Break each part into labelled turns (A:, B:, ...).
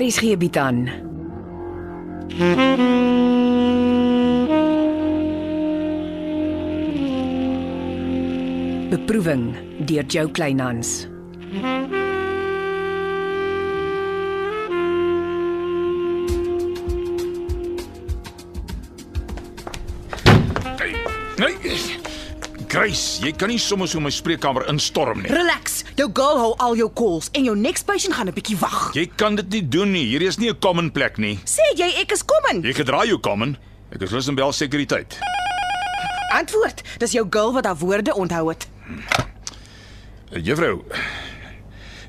A: RSG bied aan. Beproeving deur Jo Kleinhans.
B: Hey, hey. Nee, Grace, jy kan nie sommer so my spreekkamer instorm nie.
C: Relax. Jou girl hou al jou calls en jou next patient gaan 'n bietjie wag.
B: Jy kan dit nie doen nie. Hierdie is nie 'n common plek nie.
C: Sê jy ek is komend?
B: Jy gedra jou common. Ek is lus en bel sekuriteit.
C: Antwoord. Dis jou girl wat haar woorde onthou het.
B: Eh, Juffrou,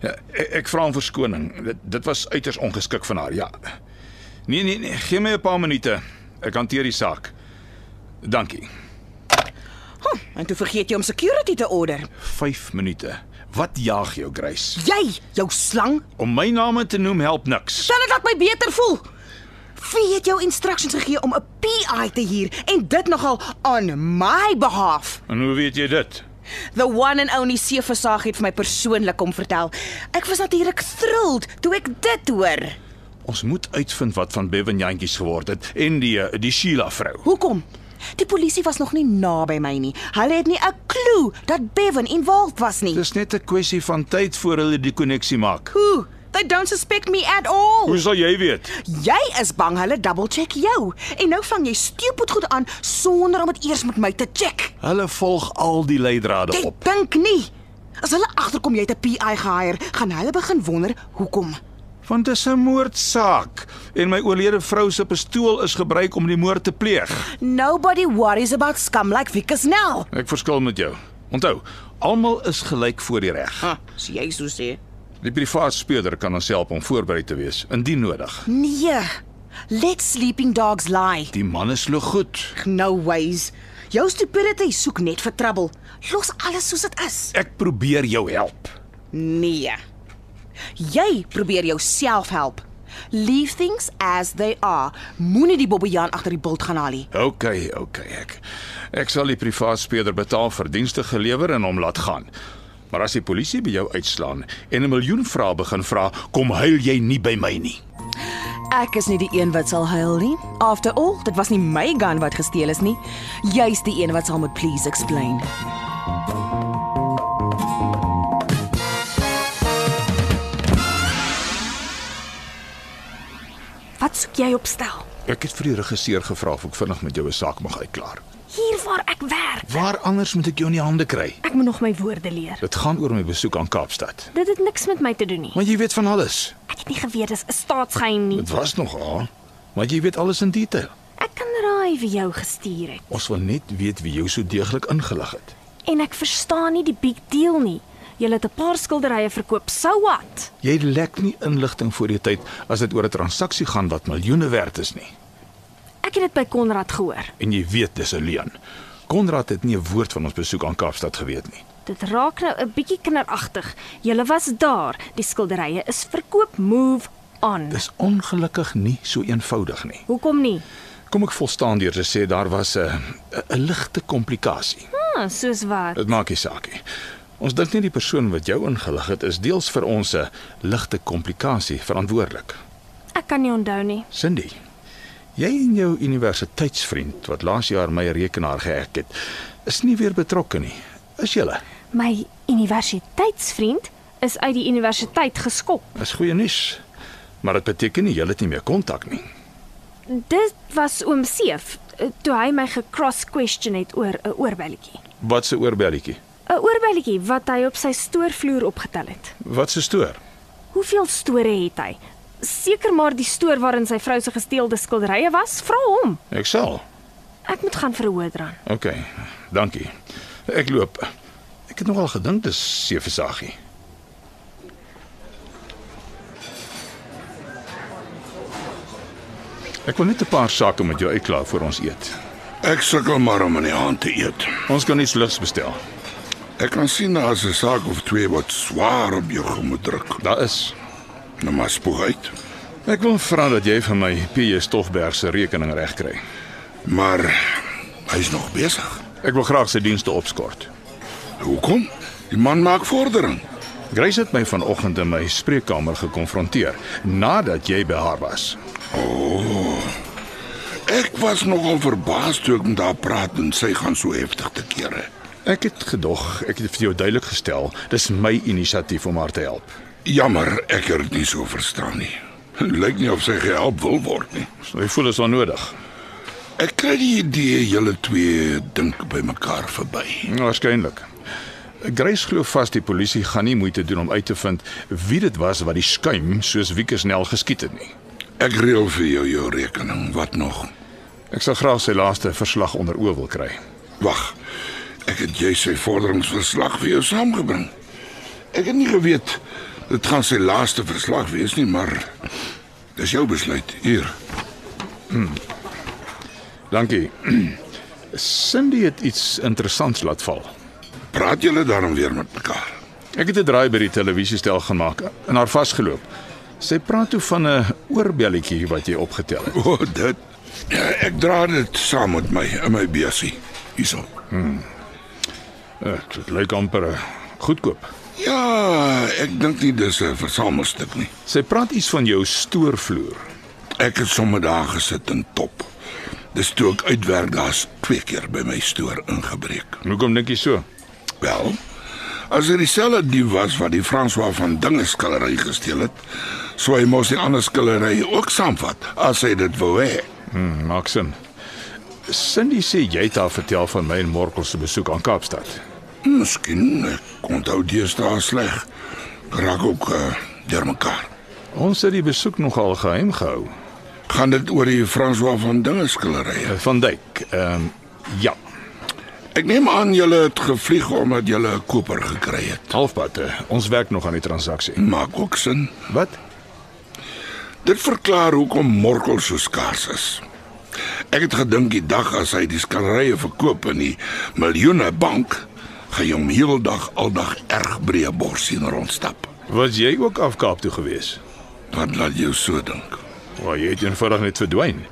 B: eh, ek, ek vra om verskoning. Dit, dit was uiters ongeskik van haar. Ja. Nee nee nee, gee my 'n paar minute. Ek hanteer die saak. Dankie.
C: Hm, en toe vergeet jy om security te order.
B: 5 minute. Wat jaag jou, Grace?
C: Jy, jou slang.
B: Om my naam te noem help niks.
C: Sal dit laat my beter voel. Wie het jou instructions gegee om 'n PI te huur en dit nogal on my behalf?
B: En hoe weet jy dit?
C: The one and only Seeversaag het vir my persoonlik kom vertel. Ek was natuurlik thrilled toe ek dit hoor.
B: Ons moet uitvind wat van Bevan Jantjies geword het en die eh, die Sheila vrou.
C: Hoekom? Die polisie was nog nie naby my nie. Hulle het nie 'n klou dat Bevan involved was nie.
B: Dis net 'n kwessie van tyd voor hulle die koneksie maak.
C: Who? They don't suspect me at all.
B: Hoe sal jy weet?
C: Jy is bang hulle double check jou en nou vang jy stupid goed aan sonder om dit eers met my te check.
B: Hulle volg al die leidrade
C: Jy
B: op.
C: dink nie. As hulle agterkom jy het 'n PI gehire, gaan hulle begin wonder hoekom.
B: Want dit is 'n moordsaak en my oorlede vrou se pistool is gebruik om die moord te pleeg.
C: Nobody worries about scum like Vickers now.
B: Ek verskil met jou. Onthou, almal is gelyk voor die reg.
C: Ha, so jy so sê.
B: Die privaat speurder kan ons help om voorberei te wees indien nodig.
C: Nee. Let sleeping dogs lie.
B: Die manne sloeg goed.
C: No ways. nou Jou stupidity soek net vir trouble. Los alles soos dit is.
B: Ek probeer jou help.
C: Nee. Jy probeer jouself help. Leave things as they are. Moenie die bobbejaan agter die bult gaan haal nie.
B: OK, OK, ek. Ek sal die privaat speurder betaal vir dienste gelewer en hom laat gaan. Maar as die polisie by jou uitslaan en 'n miljoen vrae begin vra, kom huil jy nie by my nie.
C: Ek is nie die een wat sal huil nie. After all, dit was nie my gun wat gesteel is nie. Jy's die een wat sal moet please explain.
D: Wat soek jy op stel?
B: Ek het vir die regisseur gevra of ek vinnig met jou 'n saak mag uitklaar.
D: Hier waar ek werk.
B: Waar anders moet ek jou in die hande kry?
D: Ek moet nog my woorde leer.
B: Dit gaan oor my besoek aan Kaapstad.
D: Dit het niks met my te doen nie.
B: Maar jy weet van alles.
D: Ek het nie geweet dis 'n staatsgeheim nie.
B: Dit was nog haar, maar jy weet alles in detail.
D: Ek kan raai wie jou gestuur het
B: Ons wil net weet wie jou so deeglik ingelig het.
D: en ek verstaan nie die big deal nie. Jy het 'n paar skilderye verkoop. So what?
B: Jy lek nie inligting voor die tyd as dit oor 'n transaksie gaan wat miljoene werd is nie.
D: Ek het dit by Konrad gehoor.
B: en jy weet dis 'n leuen. Konrad het nie 'n woord van ons besoek aan Kaapstad geweet nie.
D: Dit raak nou 'n bietjie kinderagtig. Jy was daar. Die skilderye is verkoop. Move on.
B: Dis ongelukkig nie so eenvoudig nie.
D: Hoekom nie?
B: Kom ek volstaan deur te sê daar was 'n 'n- 'n ligte komplikasie.
D: Ah, soos wat.
B: Dit maak nie saak nie. Ons dink nie die persoon wat jou ingelig het is deels vir ons 'n ligte komplikasie verantwoordelik.
D: Ek kan nie onthou nie.
B: Cindy, jy en jou universiteitsvriend wat laas jaar my rekenaar gehack het, is nie weer betrokke nie. Is julle?
D: My universiteitsvriend is uit die universiteit geskop.
B: Dis goeie nuus. Maar dit beteken nie julle het nie meer kontak nie.
D: Dit was oom Seef eh, toe hy my gekross-question het oor 'n oorbelletjie.
B: Wat se oorbelletjie?
D: 'n Oorbelletjie wat hy op sy stoorvloer opgetel het.
B: Wat se stoor?
D: Hoeveel store het hy? Seker maar die stoor waarin sy vrou se gesteelde skilderye was. Vra hom.
B: Ek sal.
D: Ek moet gaan verhoor dran.
B: OK. Dankie. Ek loop. Ek het nogal gedink dis Seefsaggie. Ek wil net 'n paar sake met jou uitklaar voor ons eet.
E: Ek sukkel maar om in die hand te eet.
B: Ons kan iets ligs bestel.
E: Ek kan sien daar is 'n saak of twee wat swaar op jou gemoed druk.
B: Daar is.
E: Nou maar spoeg uit.
B: Ek wil vra dat jy vir my P.J. Stoffberg se rekening regkry.
E: Maar hy's nog besig.
B: Ek wil graag sy dienste opskort.
E: Hoekom? Die man maak vordering.
B: Grace het my vanoggend in my spreekkamer gekonfronteer nadat jy by haar was.
E: Ek was nogal verbaas toe ek met haar praat en sy gaan so heftig te kere.
B: Ek het gedog, ek het vir jou duidelik gestel, dis my inisiatief om haar te help.
E: Jammer, ek het dit nie so verstaan nie. Lyk nie of sy gehelp wil word nie.
B: So, Ek voel dit is onnodig.
E: Ek kry die idee julle twee dink by mekaar verby.
B: Waarskynlik. Grace glo vas die polisie gaan nie moeite doen om uit te vind wie dit was wat die skuim soos Wiekersnel geskiet het nie.
E: Ek reël vir jou jou rekening, wat nog?
B: Ek sal graag sy laaste verslag onder oë wil kry.
E: Wag. Ek het jy sy vorderingsverslag vir jou saamgebring. Ek het nie geweet dit gaan sy laaste verslag wees nie, maar dis jou besluit hier.
B: Dankie. Cindy het iets interessants laat val.
E: Praat julle daarom weer met mekaar.
B: Ek het 'n draai by die televisiestel gemaak en haar vasgeloop. Sy praat toe van 'n oorbelletjie wat jy opgetel het.
E: O, oh, dit. Ek dra dit saam met my in my besie. Hierso.
B: Eh, Dit lyk amper eh, goedkoop.
E: Ja, ek dink nie dis 'n versamelstuk nie.
B: Sy praat iets van jou stoorvloer.
E: Ek het sommer daar gesit in top. Dis toe ek uitwerk daar's twee keer by my stoor ingebreek.
B: Hoekom dink jy so?
E: Wel, as dit dieselfde dief was wat die François van Dinge skildery gesteel het, sou hy mos die ander skildery ook saamvat as hy dit wou hê.
B: Hmm, maak sin. Cindy sê jy het haar vertel van my en Morkel se besoek aan Kaapstad.
E: Hmm, Miskien ek onthou deesdae sleg. Ek Raak ook uh, deur mekaar.
B: Ons het die besoek nogal geheim gehou.
E: Gaan dit oor die François van Dinge skildery?
B: Eh, Van Dyk. Ehm um, ja,
E: Ek neem aan julle het gevlieg omdat julle 'n koper gekry het.
B: halfpad. eh, Ons werk nog aan die transaksie.
E: Maak ook sin.
B: Wat?
E: Dit verklaar hoekom Morkel so skaars is. Ek het gedink die dag as hy die skilderye verkoop in die miljoene bank, gaan hy hom heeldag aldag erg breë bors sien rondstap.
B: Was jy ook af Kaap toe gewees?
E: Wat laat jou so dink?
B: Waar jy het eenvoudig net verdwyn.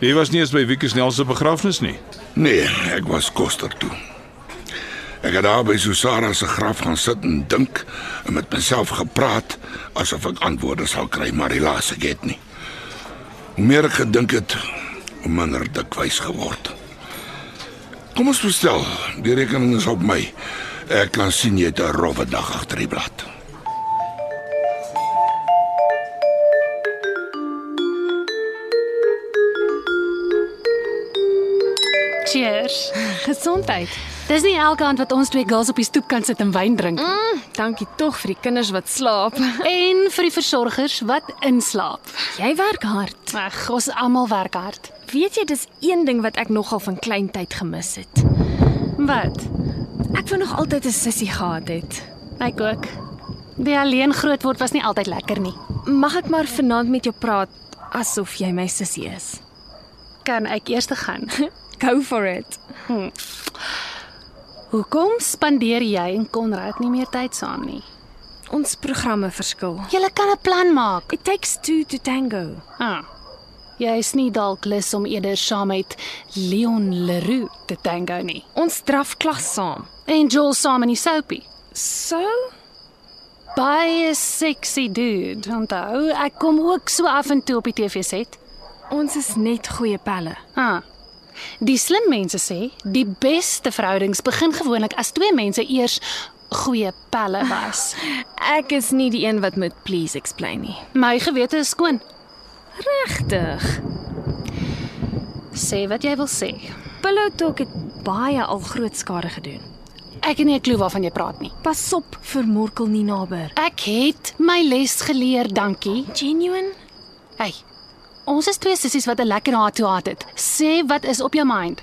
B: Jy was nie eens by Wiekie Snell se begrafnis nie.
E: Nee, ek was koster toe. Ek het daar by Susara se graf gaan sit en dink en met myself gepraat asof ek antwoorde sal kry, maar helaas ek het nie. Hoe meer ek gedink het, hoe minder dikwys geword. Kom ons bestel. Die rekening is op my. Ek kan sien jy het 'n rowwe dag agter die blad.
F: Cheers.
D: Gesondheid.
F: Dis nie elke aand wat ons twee girls op die stoep kan sit en wyn drink nie.
D: Mm, Dankie tog vir die kinders wat slaap.
F: En vir die versorgers wat inslaap.
D: Jy werk hard.
F: Ag, ons almal werk hard.
D: Weet jy, dis een ding wat ek nogal van kleintyd gemis het.
F: Wat?
D: Ek wou nog altyd 'n sussie gehad het.
F: Ek ook. Die alleen groot word was nie altyd lekker nie.
D: Mag ek maar vanaand met jou praat asof jy my sussie is?
F: Kan ek eers te gaan?
D: Go for it.
F: Hoekom spandeer jy en Konrad nie meer tyd saam nie?
D: Ons programme verskil.
F: Julle kan 'n plan maak.
D: It takes two to tango.
F: Ah. Jy is nie dalk lus om eerder saam met Leon Leroux te tango nie.
D: Ons draf klas saam.
F: En Joel saam in die soapie.
D: So,
F: Baie sexy dude. Onthou, ek kom ook so af en toe op die TV set.
D: ons is net goeie pelle.
F: Ah. Die slim mense sê, die beste verhoudings begin gewoonlik as twee mense eers goeie pelle was.
D: Ek is nie die een wat moet please explain nie.
F: My gewete is skoon.
D: Regtig.
F: Sê wat jy wil sê.
D: Pillow Talk het baie al groot skade gedoen.
F: Ek het nie 'n klou waarvan jy praat nie.
D: Pas op vir Morkel Ninaber.
F: Ek het my les geleer, dankie.
D: Genuine?
F: Hey. Ons is twee sissies wat 'n lekker haat toe haat het. Sê wat is op jou mind?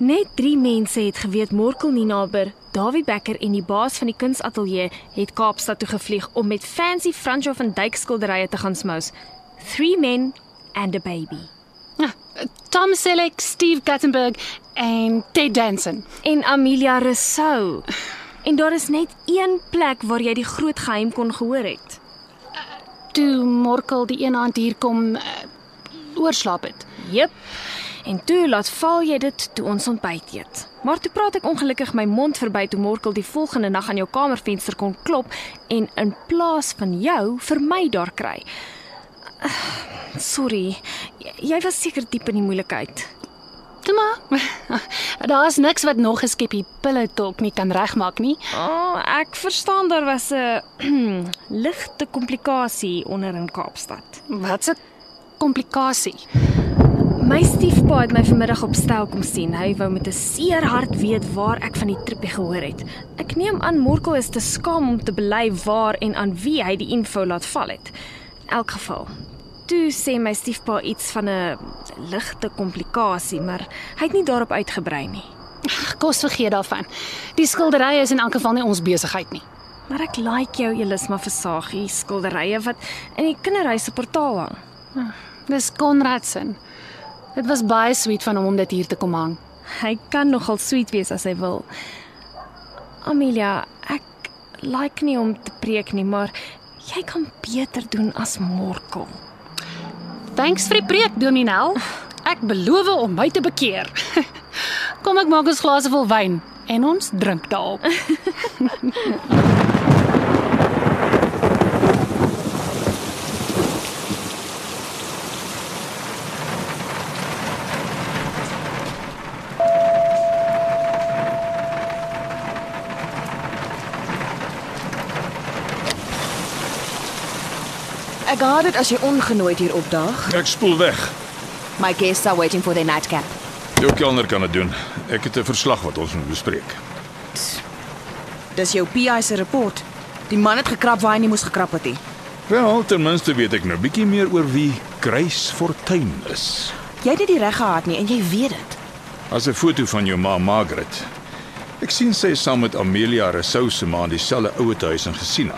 D: Net 3 mense het geweet Morkel Ninaber, Dawie Becker en die baas van die kunsateljee het Kaapstad toe gevlieg om met fancy Francois van Dyk skilderye te gaan smous. 3 men and a baby.
F: Ja, Tom Selleck, Steve Guttenberg en Ted Danson.
D: En Amelia Rousseau. En daar is net een plek waar jy die groot geheim kon gehoor het.
F: toe Morkel die een aand hier kom uh, eh, oorslaap het.
D: Jep. En toe laat val jy dit toe ons ontbyt eet. Maar toe praat ek ongelukkig my mond verby toe Morkel die volgende nag aan jou kamervenster kon klop en in plaas van jou vir my daar kry. Ah, Sorry. J- Jy was seker diep in die moeilikheid.
F: Toe maar. Daar's niks wat nog geskepie pille talk nie kan regmaak nie.
D: O, oh, ek verstaan daar was 'n ligte komplikasie onder in Kaapstad.
F: Wat 'n komplikasie.
D: My stiefpa het my vanmiddag op stel kom sien. Hy wou met 'n seer hart weet waar ek van die trippie gehoor het. Ek neem aan Morkel is te skaam om te bely waar en aan wie hy die info laat val het. In elk geval. Toe sê my stiefpa iets van 'n ligte komplikasie, maar hy het nie daarop uitgebrei nie.
F: Ag, Kos vergeet daarvan. Die skilderye is in elk geval nie ons besigheid nie.
D: Maar ek like jou Elisma Versagie skilderye wat in die kinderhuis se portaal hang.
F: Dis Konrad se. Dit was baie sweet van hom om dit hier te kom hang.
D: Hy kan nogal sweet wees as hy wil. Amelia, ek like nie om te preek nie, maar jy kan beter doen as Morkel.
F: Thanks vir die preek, Dominel. Ek beloof om my te bekeer. Kom ek maak ons glase vol wyn en ons drink daarop.
C: Ek haat dit as jy ongenooid hier opdaag.
B: Ek spoel weg.
C: My guests are waiting for their nightcap.
B: Jou kelner kan dit doen. Ek het 'n verslag wat ons moet bespreek.
C: Dis jou PI se rapport. Die man het gekrap waar hy nie moes gekrap het nie.
B: Wel, ten minste weet ek nou bietjie meer oor wie Grace Fortuin is.
C: Jy het nie die reg gehad nie en jy weet dit.
B: As 'n foto van jou ma Margaret. Ek sien sy is saam met Amelia Rousseau se ma in dieselfde ouete huis in Gesina.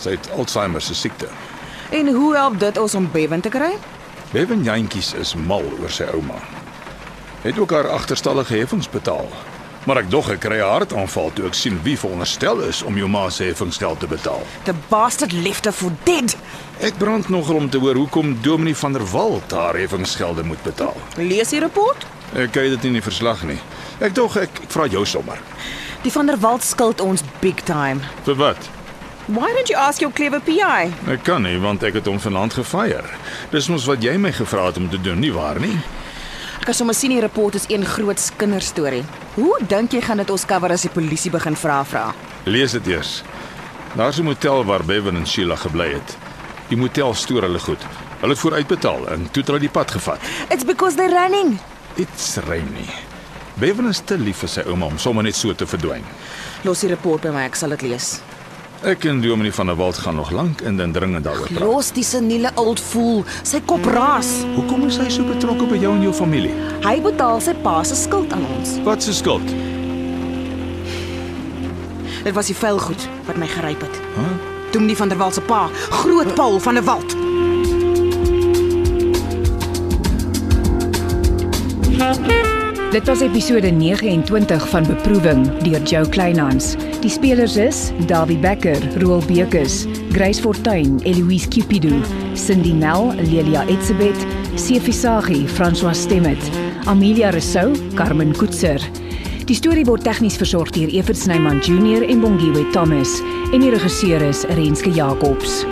B: Sy het Alzheimer se siekte.
C: En hoe help dit ons om Bevan te kry?
B: Bevan Jantjies is mal oor sy ouma. Het ook haar agterstallige heffings betaal. Maar ek dog ek kry 'n hartaanval toe ek sien wie veronderstel is om jou ma se heffingsgeld te betaal.
C: The bastard left her for dead.
B: Ek brand nogal om te hoor hoekom Dominee van der Walt haar heffingsgelde moet betaal.
C: Lees die rapport.
B: Ek kry dit nie in die verslag nie. Ek dog ek, ek vra jou sommer.
C: Die van der Walt skuld ons big time.
B: Vir wat?
C: Why don't you ask your clever PI?
B: Ek kan nie want ek het hom vanaand gefeier. Dis mos wat jy my gevra het om te doen, nie waar nie?
C: Ek kan sommer sien die rapport is een groot kinderstorie. Hoe dink jy gaan dit ons cover as die polisie begin vra vra?
B: Lees dit eers. Daar's 'n motel waar Bevan en Sheila gebly het. Die motel stoor hulle goed. Hulle het vooruitbetaal en toe het hulle die pad gevat.
C: It's because they're running.
B: Dit's rein nie. Bevan is te lief vir sy ouma om sommer net so te verdwyn.
C: Los die rapport by my, ek sal dit lees.
B: Ek en Dominee van der Walt gaan nog lank in en dringend daaroor praat.
C: Los die seniele old fool. Sy kop raas.
B: Hoekom is hy so betrokke by jou en jou familie?
C: Hy betaal sy pa se skuld aan ons.
B: Wat se skuld?
C: Dit was die vuil goed wat my geryp het.
B: Huh?
C: Doen die van der Walt se pa, Groot Paul van der Walt.
A: Dit was episode 29 van Beproewing deur Jo Kleinhans. Die spelers is Dawie Becker, Roel Bekus, Grace Fortuin, Eloise Cupidou, Cindy Nel, Lelia Etsebet, Sefisagi, François Stemmet, Amelia Rousseau, Carmen Koetser. Die storie word tegnies versorg deur Evert Snyman Junior en Bongwe Thomas en die regisseur is Renske Jacobs.